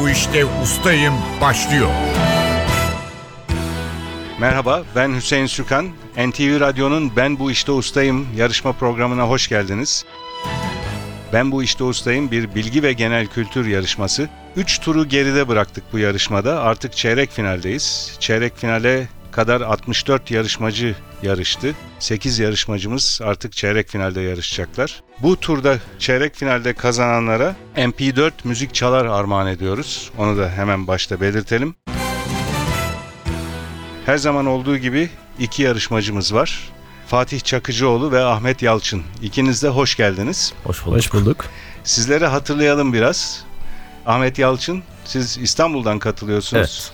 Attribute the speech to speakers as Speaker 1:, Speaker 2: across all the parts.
Speaker 1: bu işte ustayım başlıyor.
Speaker 2: Merhaba, ben Hüseyin Sükan. NTV Radyo'nun Ben Bu İşte Ustayım yarışma programına hoş geldiniz. Ben Bu İşte Ustayım bir bilgi ve genel kültür yarışması. 3 turu geride bıraktık bu yarışmada. Artık çeyrek finaldeyiz. Çeyrek finale kadar 64 yarışmacı yarıştı. 8 yarışmacımız artık çeyrek finalde yarışacaklar. Bu turda çeyrek finalde kazananlara MP4 müzik çalar armağan ediyoruz. Onu da hemen başta belirtelim. Her zaman olduğu gibi iki yarışmacımız var. Fatih Çakıcıoğlu ve Ahmet Yalçın. İkiniz de hoş geldiniz.
Speaker 3: Hoş bulduk.
Speaker 4: Hoş bulduk.
Speaker 2: Sizleri hatırlayalım biraz. Ahmet Yalçın, siz İstanbul'dan katılıyorsunuz.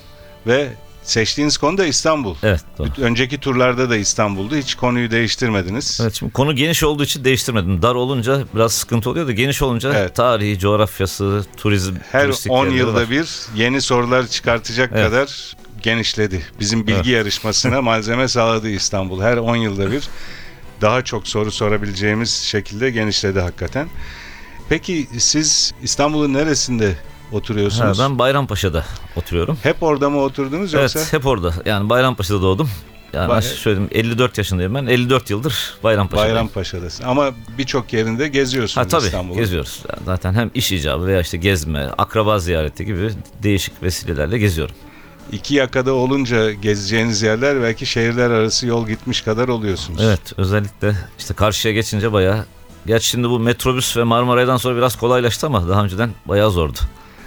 Speaker 2: Ve seçtiğiniz konu da İstanbul.
Speaker 3: Evet doğru.
Speaker 2: Önceki turlarda da İstanbul'du. Hiç konuyu değiştirmediniz.
Speaker 3: Evet şimdi konu geniş olduğu için değiştirmedim. Dar olunca biraz sıkıntı oluyor da geniş olunca
Speaker 2: Evet.
Speaker 3: tarihi, coğrafyası, turizm,
Speaker 2: Her
Speaker 3: turistik
Speaker 2: 10
Speaker 3: yerleri
Speaker 2: yılda
Speaker 3: var.
Speaker 2: bir yeni sorular çıkartacak
Speaker 3: Evet.
Speaker 2: kadar genişledi. Bizim bilgi
Speaker 3: Evet.
Speaker 2: yarışmasına malzeme sağladı İstanbul. Her 10 yılda bir daha çok soru sorabileceğimiz şekilde genişledi hakikaten. Peki siz İstanbul'un neresinde
Speaker 3: Ha,
Speaker 2: oturuyorsunuz?
Speaker 3: ben Bayrampaşa'da oturuyorum.
Speaker 2: Hep orada mı oturdunuz yoksa?
Speaker 3: Evet hep orada. Yani Bayrampaşa'da doğdum. Yani
Speaker 2: Bay-
Speaker 3: aşağı söyleyeyim 54 yaşındayım ben. 54 yıldır Bayrampaşa'dayım.
Speaker 2: Bayrampaşa'dasın. Ama birçok yerinde geziyorsunuz
Speaker 3: Ha tabii
Speaker 2: İstanbul'u.
Speaker 3: geziyoruz. Yani zaten hem iş icabı veya işte gezme, akraba ziyareti gibi değişik vesilelerle geziyorum.
Speaker 2: İki yakada olunca gezeceğiniz yerler belki şehirler arası yol gitmiş kadar oluyorsunuz.
Speaker 3: Evet özellikle işte karşıya geçince bayağı Gerçi şimdi bu metrobüs ve Marmaray'dan sonra biraz kolaylaştı ama daha önceden bayağı zordu.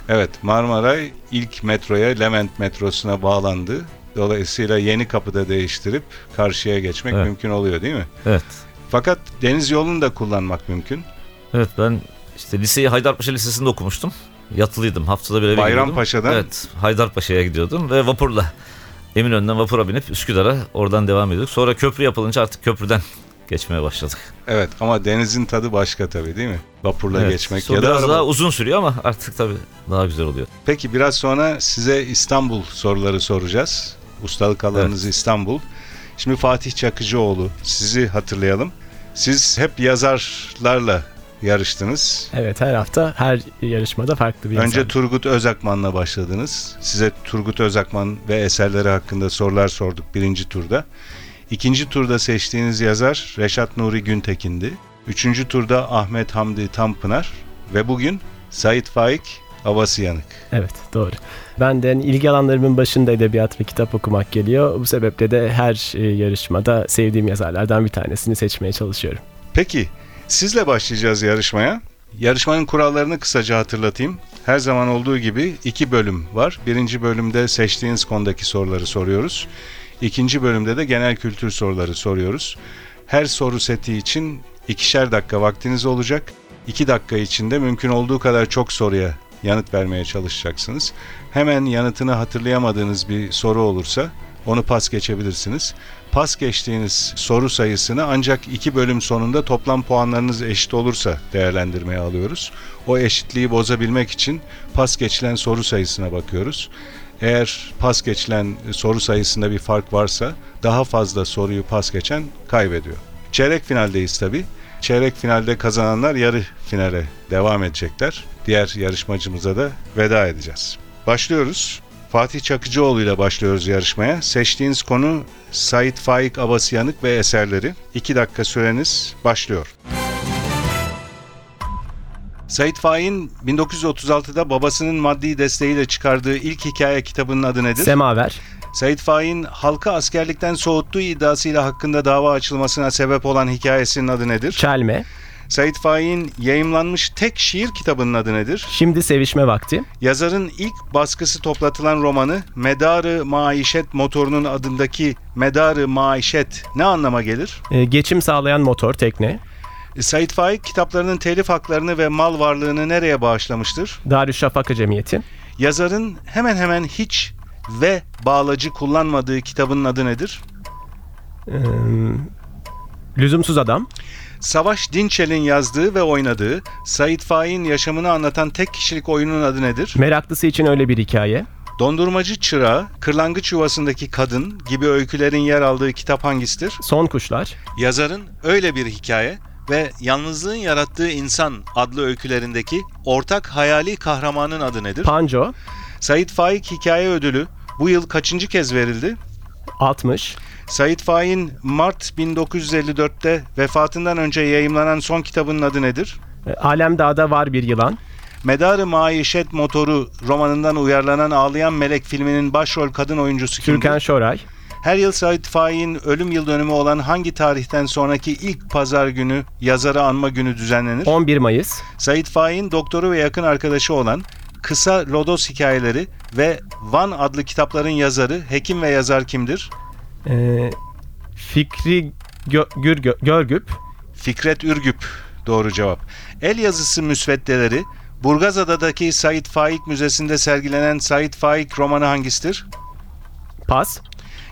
Speaker 2: Evet Marmaray ilk metroya Levent metrosuna bağlandı. Dolayısıyla yeni kapıda değiştirip karşıya geçmek
Speaker 3: Evet.
Speaker 2: mümkün oluyor değil mi?
Speaker 3: Evet.
Speaker 2: Fakat deniz yolunu da kullanmak mümkün.
Speaker 3: Evet ben işte liseyi Haydarpaşa Lisesi'nde okumuştum. Yatılıydım. Haftada bir eve gidiyordum.
Speaker 2: Bayrampaşa'dan?
Speaker 3: Evet. Haydarpaşa'ya gidiyordum ve vapurla Eminönü'nden vapura binip Üsküdar'a oradan devam ediyorduk. Sonra köprü yapılınca artık köprüden geçmeye başladık.
Speaker 2: Evet ama denizin tadı başka tabii değil mi? Vapurla
Speaker 3: Evet.
Speaker 2: geçmek
Speaker 3: Sonra
Speaker 2: ya da
Speaker 3: biraz
Speaker 2: araba.
Speaker 3: daha uzun sürüyor ama artık tabii daha güzel oluyor.
Speaker 2: Peki biraz sonra size İstanbul soruları soracağız. Ustalık alanınız İstanbul. Şimdi Fatih Çakıcıoğlu sizi hatırlayalım. Siz hep yazarlarla yarıştınız.
Speaker 4: Evet her hafta her yarışmada farklı bir
Speaker 2: Önce
Speaker 4: insan.
Speaker 2: Turgut Özakman'la başladınız. Size Turgut Özakman ve eserleri hakkında sorular sorduk birinci turda. İkinci turda seçtiğiniz yazar Reşat Nuri Güntekin'di. Üçüncü turda Ahmet Hamdi Tanpınar ve bugün Sait Faik Avasıyanık.
Speaker 4: Evet doğru. Ben de yani ilgi alanlarımın başında edebiyat ve kitap okumak geliyor. Bu sebeple de her e, yarışmada sevdiğim yazarlardan bir tanesini seçmeye çalışıyorum.
Speaker 2: Peki sizle başlayacağız yarışmaya. Yarışmanın kurallarını kısaca hatırlatayım. Her zaman olduğu gibi iki bölüm var. Birinci bölümde seçtiğiniz konudaki soruları soruyoruz. İkinci bölümde de genel kültür soruları soruyoruz. Her soru seti için ikişer dakika vaktiniz olacak. İki dakika içinde mümkün olduğu kadar çok soruya yanıt vermeye çalışacaksınız. Hemen yanıtını hatırlayamadığınız bir soru olursa onu pas geçebilirsiniz. Pas geçtiğiniz soru sayısını ancak iki bölüm sonunda toplam puanlarınız eşit olursa değerlendirmeye alıyoruz. O eşitliği bozabilmek için pas geçilen soru sayısına bakıyoruz. Eğer pas geçilen soru sayısında bir fark varsa daha fazla soruyu pas geçen kaybediyor. Çeyrek finaldeyiz tabi. Çeyrek finalde kazananlar yarı finale devam edecekler. Diğer yarışmacımıza da veda edeceğiz. Başlıyoruz. Fatih Çakıcıoğlu ile başlıyoruz yarışmaya. Seçtiğiniz konu Sait Faik Abasıyanık ve eserleri. 2 dakika süreniz başlıyor. Sait Faik'in 1936'da babasının maddi desteğiyle çıkardığı ilk hikaye kitabının adı nedir?
Speaker 4: Semaver.
Speaker 2: Sait Faik'in halka askerlikten soğuttuğu iddiasıyla hakkında dava açılmasına sebep olan hikayesinin adı nedir?
Speaker 4: Çelme.
Speaker 2: Sait Faik'in yayımlanmış tek şiir kitabının adı nedir?
Speaker 4: Şimdi sevişme vakti.
Speaker 2: Yazarın ilk baskısı toplatılan romanı Medarı Maişet motorunun adındaki Medarı Maişet ne anlama gelir?
Speaker 4: E, geçim sağlayan motor tekne.
Speaker 2: Sait Faik kitaplarının telif haklarını ve mal varlığını nereye bağışlamıştır?
Speaker 4: Darüşşafaka Cemiyeti.
Speaker 2: Yazarın hemen hemen hiç ve bağlacı kullanmadığı kitabının adı nedir?
Speaker 4: e, lüzumsuz adam.
Speaker 2: Savaş Dinçel'in yazdığı ve oynadığı Sait Faik'in yaşamını anlatan tek kişilik oyunun adı nedir?
Speaker 4: Meraklısı için öyle bir hikaye.
Speaker 2: Dondurmacı Çırağı, Kırlangıç Yuvasındaki Kadın gibi öykülerin yer aldığı kitap hangisidir?
Speaker 4: Son kuşlar.
Speaker 2: Yazarın öyle bir hikaye ve Yalnızlığın Yarattığı İnsan adlı öykülerindeki ortak hayali kahramanın adı nedir?
Speaker 4: Panco
Speaker 2: Sait Faik Hikaye Ödülü bu yıl kaçıncı kez verildi?
Speaker 4: 60.
Speaker 2: Sait Faik'in Mart 1954'te vefatından önce yayımlanan son kitabının adı nedir?
Speaker 4: E, Alemdağ'da var bir yılan.
Speaker 2: Medarı Maişet Motoru romanından uyarlanan Ağlayan Melek filminin başrol kadın oyuncusu kimdir?
Speaker 4: Türkan Şoray.
Speaker 2: Her yıl Sait Faik'in ölüm yıl dönümü olan hangi tarihten sonraki ilk pazar günü yazarı anma günü düzenlenir?
Speaker 4: 11 Mayıs.
Speaker 2: Sait Faik'in doktoru ve yakın arkadaşı olan Kısa Lodos Hikayeleri ve Van adlı kitapların yazarı, hekim ve yazar kimdir?
Speaker 4: E, Fikri Gö- Gürgö- Görgüp.
Speaker 2: Fikret Ürgüp. Doğru cevap. El yazısı müsveddeleri Burgazada'daki Sait Faik Müzesi'nde sergilenen Sait Faik romanı hangisidir?
Speaker 4: Pas.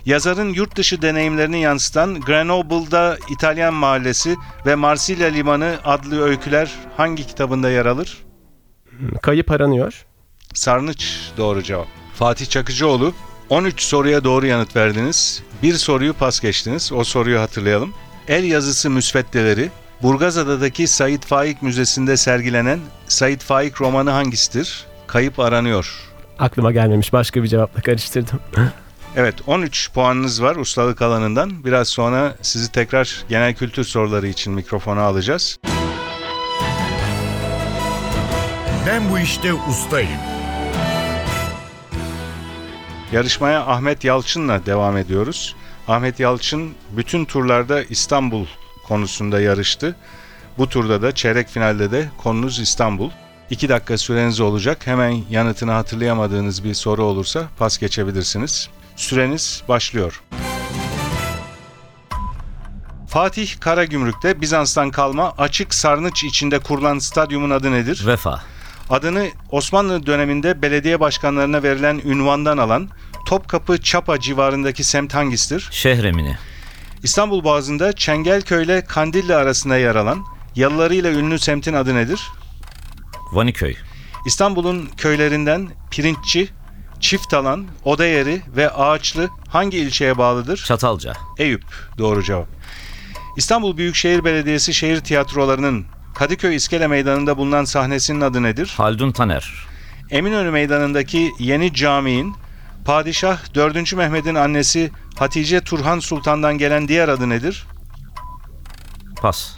Speaker 2: Yazarın yurt dışı deneyimlerini yansıtan Grenoble'da İtalyan Mahallesi ve Marsilya Limanı adlı öyküler hangi kitabında yer alır?
Speaker 4: Kayıp aranıyor.
Speaker 2: Sarnıç doğru cevap. Fatih Çakıcıoğlu 13 soruya doğru yanıt verdiniz. Bir soruyu pas geçtiniz. O soruyu hatırlayalım. El yazısı müsveddeleri Burgazada'daki Sait Faik Müzesi'nde sergilenen Sait Faik romanı hangisidir? Kayıp aranıyor.
Speaker 4: Aklıma gelmemiş. Başka bir cevapla karıştırdım.
Speaker 2: Evet 13 puanınız var ustalık alanından. Biraz sonra sizi tekrar genel kültür soruları için mikrofona alacağız.
Speaker 1: Ben bu işte ustayım.
Speaker 2: Yarışmaya Ahmet Yalçın'la devam ediyoruz. Ahmet Yalçın bütün turlarda İstanbul konusunda yarıştı. Bu turda da çeyrek finalde de konunuz İstanbul. 2 dakika süreniz olacak. Hemen yanıtını hatırlayamadığınız bir soru olursa pas geçebilirsiniz. Süreniz başlıyor. Fatih Karagümrük'te Bizans'tan kalma açık sarnıç içinde kurulan stadyumun adı nedir?
Speaker 3: Vefa.
Speaker 2: Adını Osmanlı döneminde belediye başkanlarına verilen ünvandan alan Topkapı Çapa civarındaki semt hangisidir?
Speaker 3: Şehremini.
Speaker 2: İstanbul Boğazı'nda Çengelköy ile Kandilli arasında yer alan yalılarıyla ünlü semtin adı nedir?
Speaker 3: Vaniköy.
Speaker 2: İstanbul'un köylerinden Pirinççi, Çiftalan, Odayeri ve Ağaçlı hangi ilçeye bağlıdır?
Speaker 3: Çatalca.
Speaker 2: Eyüp. Doğru cevap. İstanbul Büyükşehir Belediyesi şehir tiyatrolarının Kadıköy İskele Meydanı'nda bulunan sahnesinin adı nedir?
Speaker 3: Haldun Taner.
Speaker 2: Eminönü Meydanı'ndaki yeni caminin Padişah 4. Mehmet'in annesi Hatice Turhan Sultan'dan gelen diğer adı nedir?
Speaker 3: Pas.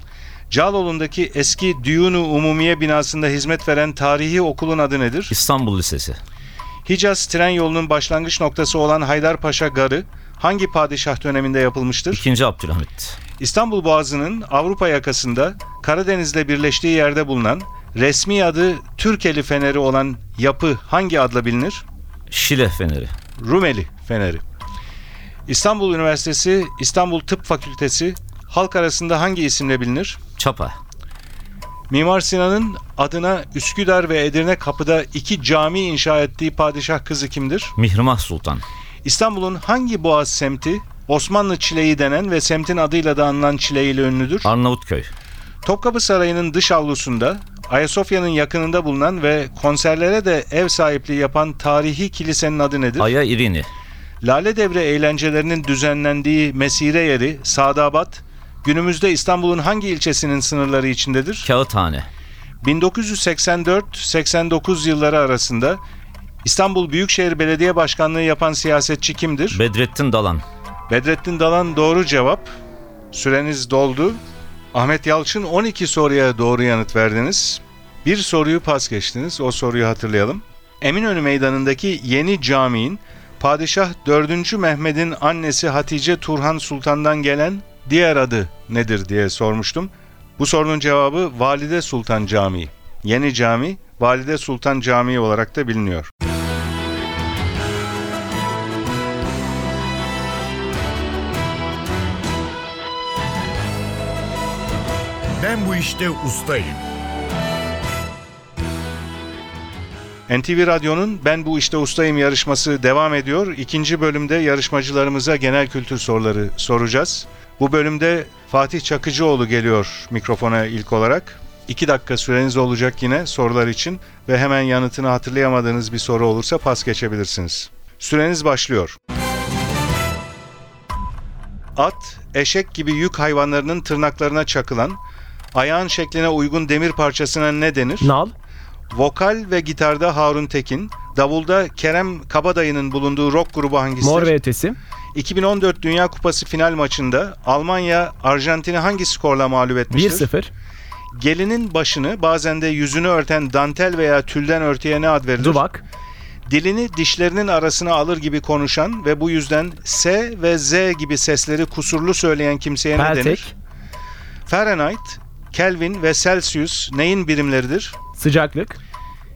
Speaker 2: Cağaloğlu'ndaki eski Düyunu Umumiye binasında hizmet veren tarihi okulun adı nedir?
Speaker 3: İstanbul Lisesi.
Speaker 2: Hicaz tren yolunun başlangıç noktası olan Haydarpaşa Garı hangi padişah döneminde yapılmıştır?
Speaker 3: İkinci Abdülhamit.
Speaker 2: İstanbul Boğazı'nın Avrupa yakasında Karadeniz'le birleştiği yerde bulunan resmi adı Türkeli Feneri olan yapı hangi adla bilinir?
Speaker 3: Şile Feneri.
Speaker 2: Rumeli Feneri. İstanbul Üniversitesi, İstanbul Tıp Fakültesi halk arasında hangi isimle bilinir?
Speaker 3: Çapa.
Speaker 2: Mimar Sinan'ın adına Üsküdar ve Edirne kapıda iki cami inşa ettiği padişah kızı kimdir?
Speaker 3: Mihrimah Sultan.
Speaker 2: İstanbul'un hangi boğaz semti Osmanlı çileği denen ve semtin adıyla da anılan çileğiyle ünlüdür?
Speaker 3: Arnavutköy.
Speaker 2: Topkapı Sarayı'nın dış avlusunda Ayasofya'nın yakınında bulunan ve konserlere de ev sahipliği yapan tarihi kilisenin adı nedir?
Speaker 3: Aya İrini.
Speaker 2: Lale Devre eğlencelerinin düzenlendiği mesire yeri Sadabat, günümüzde İstanbul'un hangi ilçesinin sınırları içindedir?
Speaker 3: Kağıthane.
Speaker 2: 1984-89 yılları arasında İstanbul Büyükşehir Belediye Başkanlığı yapan siyasetçi kimdir?
Speaker 3: Bedrettin Dalan.
Speaker 2: Bedrettin Dalan doğru cevap. Süreniz doldu. Ahmet Yalçın 12 soruya doğru yanıt verdiniz. Bir soruyu pas geçtiniz. O soruyu hatırlayalım. Eminönü Meydanı'ndaki yeni caminin Padişah 4. Mehmet'in annesi Hatice Turhan Sultan'dan gelen diğer adı nedir diye sormuştum. Bu sorunun cevabı Valide Sultan Camii. Yeni cami Valide Sultan Camii olarak da biliniyor.
Speaker 1: Ben bu işte ustayım.
Speaker 2: NTV Radyo'nun Ben Bu İşte Ustayım yarışması devam ediyor. İkinci bölümde yarışmacılarımıza genel kültür soruları soracağız. Bu bölümde Fatih Çakıcıoğlu geliyor mikrofona ilk olarak. İki dakika süreniz olacak yine sorular için ve hemen yanıtını hatırlayamadığınız bir soru olursa pas geçebilirsiniz. Süreniz başlıyor. At, eşek gibi yük hayvanlarının tırnaklarına çakılan, Ayağın şekline uygun demir parçasına ne denir?
Speaker 4: Nal,
Speaker 2: Vokal ve gitarda Harun Tekin, davulda Kerem Kabadayı'nın bulunduğu rock grubu hangisidir?
Speaker 4: Mor ve Ötesi,
Speaker 2: 2014 Dünya Kupası final maçında Almanya Arjantin'i hangi skorla mağlup etmiştir?
Speaker 4: 1-0,
Speaker 2: Gelinin başını bazen de yüzünü örten dantel veya tülden örtüye ne ad verilir?
Speaker 4: Duvak,
Speaker 2: Dilini dişlerinin arasına alır gibi konuşan ve bu yüzden S ve Z gibi sesleri kusurlu söyleyen kimseye ne denir?
Speaker 4: Peltek,
Speaker 2: Fahrenheit, Kelvin ve Celsius neyin birimleridir?
Speaker 4: Sıcaklık,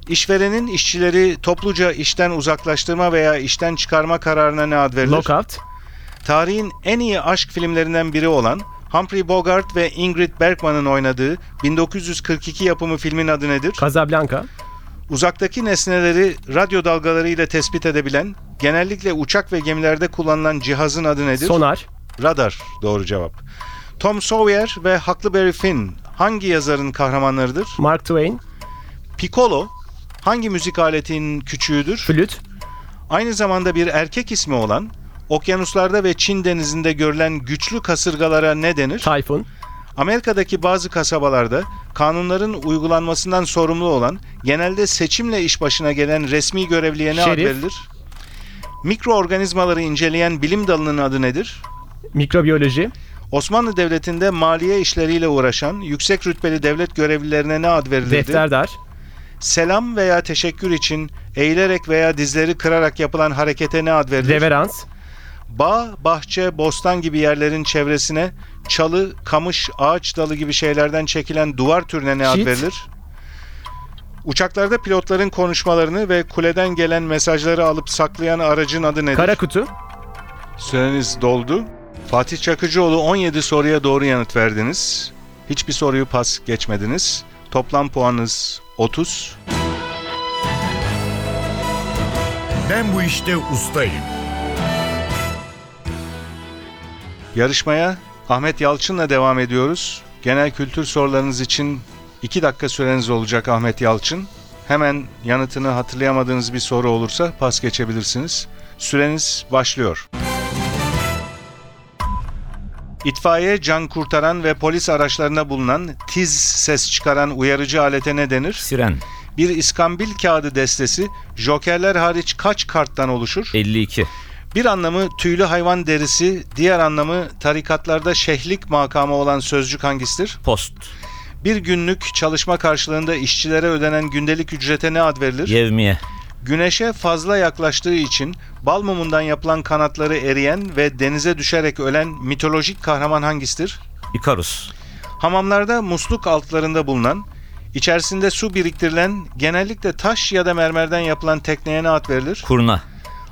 Speaker 2: İşverenin işçileri topluca işten uzaklaştırma veya işten çıkarma kararına ne ad verilir?
Speaker 4: Lockout,
Speaker 2: Tarihin en iyi aşk filmlerinden biri olan Humphrey Bogart ve Ingrid Bergman'ın oynadığı 1942 yapımı filmin adı nedir?
Speaker 4: Casablanca,
Speaker 2: Uzaktaki nesneleri radyo dalgaları ile tespit edebilen, genellikle uçak ve gemilerde kullanılan cihazın adı nedir?
Speaker 4: Sonar,
Speaker 2: Radar doğru cevap. Tom Sawyer ve Huckleberry Finn hangi yazarın kahramanlarıdır?
Speaker 4: Mark Twain,
Speaker 2: Piccolo hangi müzik aletinin küçüğüdür?
Speaker 4: Flüt,
Speaker 2: Aynı zamanda bir erkek ismi olan, okyanuslarda ve Çin denizinde görülen güçlü kasırgalara ne denir?
Speaker 4: Tayfun,
Speaker 2: Amerika'daki bazı kasabalarda kanunların uygulanmasından sorumlu olan, genelde seçimle iş başına gelen resmi görevliye ne ad
Speaker 4: Şerif.
Speaker 2: verilir? Mikroorganizmaları inceleyen bilim dalının adı nedir?
Speaker 4: Mikrobiyoloji,
Speaker 2: Osmanlı Devleti'nde maliye işleriyle uğraşan yüksek rütbeli devlet görevlilerine ne ad verilirdi?
Speaker 4: Defterdar,
Speaker 2: Selam veya teşekkür için eğilerek veya dizleri kırarak yapılan harekete ne ad verilir?
Speaker 4: Reverans,
Speaker 2: Bağ, bahçe, bostan gibi yerlerin çevresine çalı, kamış, ağaç dalı gibi şeylerden çekilen duvar türüne ne ad
Speaker 4: Çit.
Speaker 2: verilir? Uçaklarda pilotların konuşmalarını ve kuleden gelen mesajları alıp saklayan aracın adı nedir?
Speaker 4: Kara Kutu,
Speaker 2: Süreniz doldu. Fatih Çakıcıoğlu 17 soruya doğru yanıt verdiniz. Hiçbir soruyu pas geçmediniz. Toplam puanınız 30.
Speaker 1: Ben bu işte ustayım.
Speaker 2: Yarışmaya Ahmet Yalçın'la devam ediyoruz. Genel kültür sorularınız için 2 dakika süreniz olacak Ahmet Yalçın. Hemen yanıtını hatırlayamadığınız bir soru olursa pas geçebilirsiniz. Süreniz başlıyor. İtfaiye, can kurtaran ve polis araçlarına bulunan tiz ses çıkaran uyarıcı alete ne denir?
Speaker 3: Siren
Speaker 2: Bir iskambil kağıdı destesi jokerler hariç kaç karttan oluşur?
Speaker 3: 52.
Speaker 2: Bir anlamı tüylü hayvan derisi, diğer anlamı tarikatlarda şehlik makamı olan sözcük hangisidir?
Speaker 3: Post.
Speaker 2: Bir günlük çalışma karşılığında işçilere ödenen gündelik ücrete ne ad verilir?
Speaker 3: Yevmiye.
Speaker 2: Güneşe fazla yaklaştığı için bal mumundan yapılan kanatları eriyen ve denize düşerek ölen mitolojik kahraman hangisidir?
Speaker 3: Ikarus.
Speaker 2: Hamamlarda musluk altlarında bulunan, içerisinde su biriktirilen, genellikle taş ya da mermerden yapılan tekneye ne ad verilir?
Speaker 3: Kurna.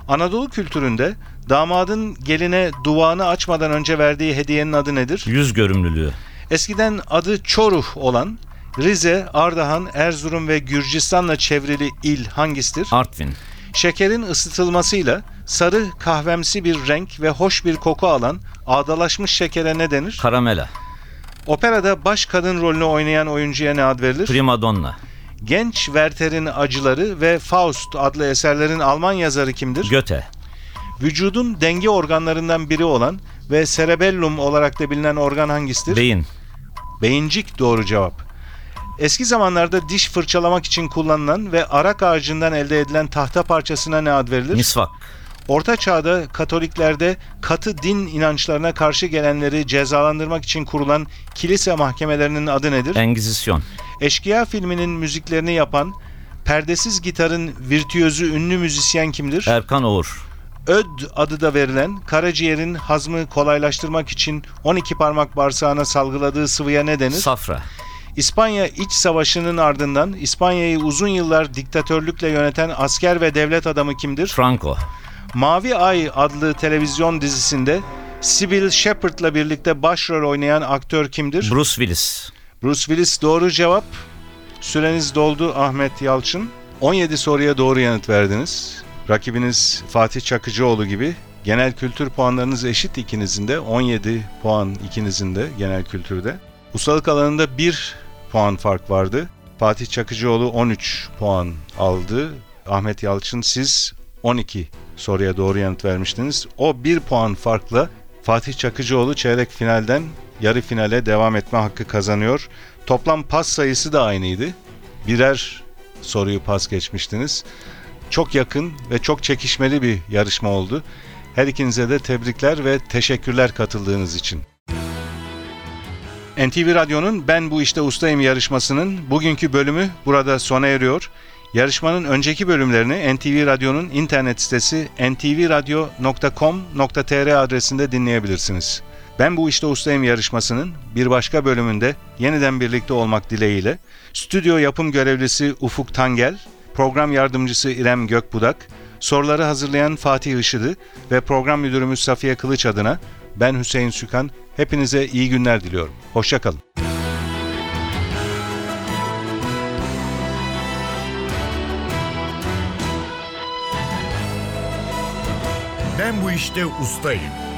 Speaker 2: Anadolu kültüründe damadın geline duvağını açmadan önce verdiği hediyenin adı nedir?
Speaker 3: Yüz görümlülüğü.
Speaker 2: Eskiden adı Çoruh olan Rize, Ardahan, Erzurum ve Gürcistan'la çevrili il hangisidir?
Speaker 3: Artvin.
Speaker 2: Şekerin ısıtılmasıyla sarı kahvemsi bir renk ve hoş bir koku alan ağdalaşmış şekere ne denir?
Speaker 3: Karamela.
Speaker 2: Operada baş kadın rolünü oynayan oyuncuya ne ad verilir?
Speaker 3: Prima donna.
Speaker 2: Genç Werther'in Acıları ve Faust adlı eserlerin Alman yazarı kimdir?
Speaker 3: Göte.
Speaker 2: Vücudun denge organlarından biri olan ve cerebellum olarak da bilinen organ hangisidir?
Speaker 3: Beyin.
Speaker 2: Beyincik doğru cevap. Eski zamanlarda diş fırçalamak için kullanılan ve arak ağacından elde edilen tahta parçasına ne ad verilir?
Speaker 3: Misvak.
Speaker 2: Orta Çağ'da Katoliklerde katı din inançlarına karşı gelenleri cezalandırmak için kurulan kilise mahkemelerinin adı nedir?
Speaker 3: E- Engizisyon.
Speaker 2: Eşkıya filminin müziklerini yapan perdesiz gitarın virtüözü ünlü müzisyen kimdir?
Speaker 3: Erkan Oğur.
Speaker 2: Öd adı da verilen karaciğerin hazmı kolaylaştırmak için 12 parmak bağırsağına salgıladığı sıvıya ne denir?
Speaker 3: Safra.
Speaker 2: İspanya İç Savaşı'nın ardından İspanya'yı uzun yıllar diktatörlükle yöneten asker ve devlet adamı kimdir?
Speaker 3: Franco.
Speaker 2: Mavi Ay adlı televizyon dizisinde Sibyl Shepherd'la birlikte başrol oynayan aktör kimdir?
Speaker 3: Bruce Willis.
Speaker 2: Bruce Willis doğru cevap. Süreniz doldu Ahmet Yalçın. 17 soruya doğru yanıt verdiniz. Rakibiniz Fatih Çakıcıoğlu gibi genel kültür puanlarınız eşit ikinizin de 17 puan ikinizin de genel kültürde. Ustalık alanında 1 puan fark vardı. Fatih Çakıcıoğlu 13 puan aldı. Ahmet Yalçın siz 12 soruya doğru yanıt vermiştiniz. O 1 puan farkla Fatih Çakıcıoğlu çeyrek finalden yarı finale devam etme hakkı kazanıyor. Toplam pas sayısı da aynıydı. Birer soruyu pas geçmiştiniz. Çok yakın ve çok çekişmeli bir yarışma oldu. Her ikinize de tebrikler ve teşekkürler katıldığınız için. NTV Radyo'nun Ben Bu İşte Ustayım yarışmasının bugünkü bölümü burada sona eriyor. Yarışmanın önceki bölümlerini NTV Radyo'nun internet sitesi ntvradio.com.tr adresinde dinleyebilirsiniz. Ben Bu İşte Ustayım yarışmasının bir başka bölümünde yeniden birlikte olmak dileğiyle stüdyo yapım görevlisi Ufuk Tangel, program yardımcısı İrem Gökbudak, soruları hazırlayan Fatih Işıdı ve program müdürümüz Safiye Kılıç adına ben Hüseyin Sükan hepinize iyi günler diliyorum. Hoşçakalın.
Speaker 1: Ben bu işte ustayım.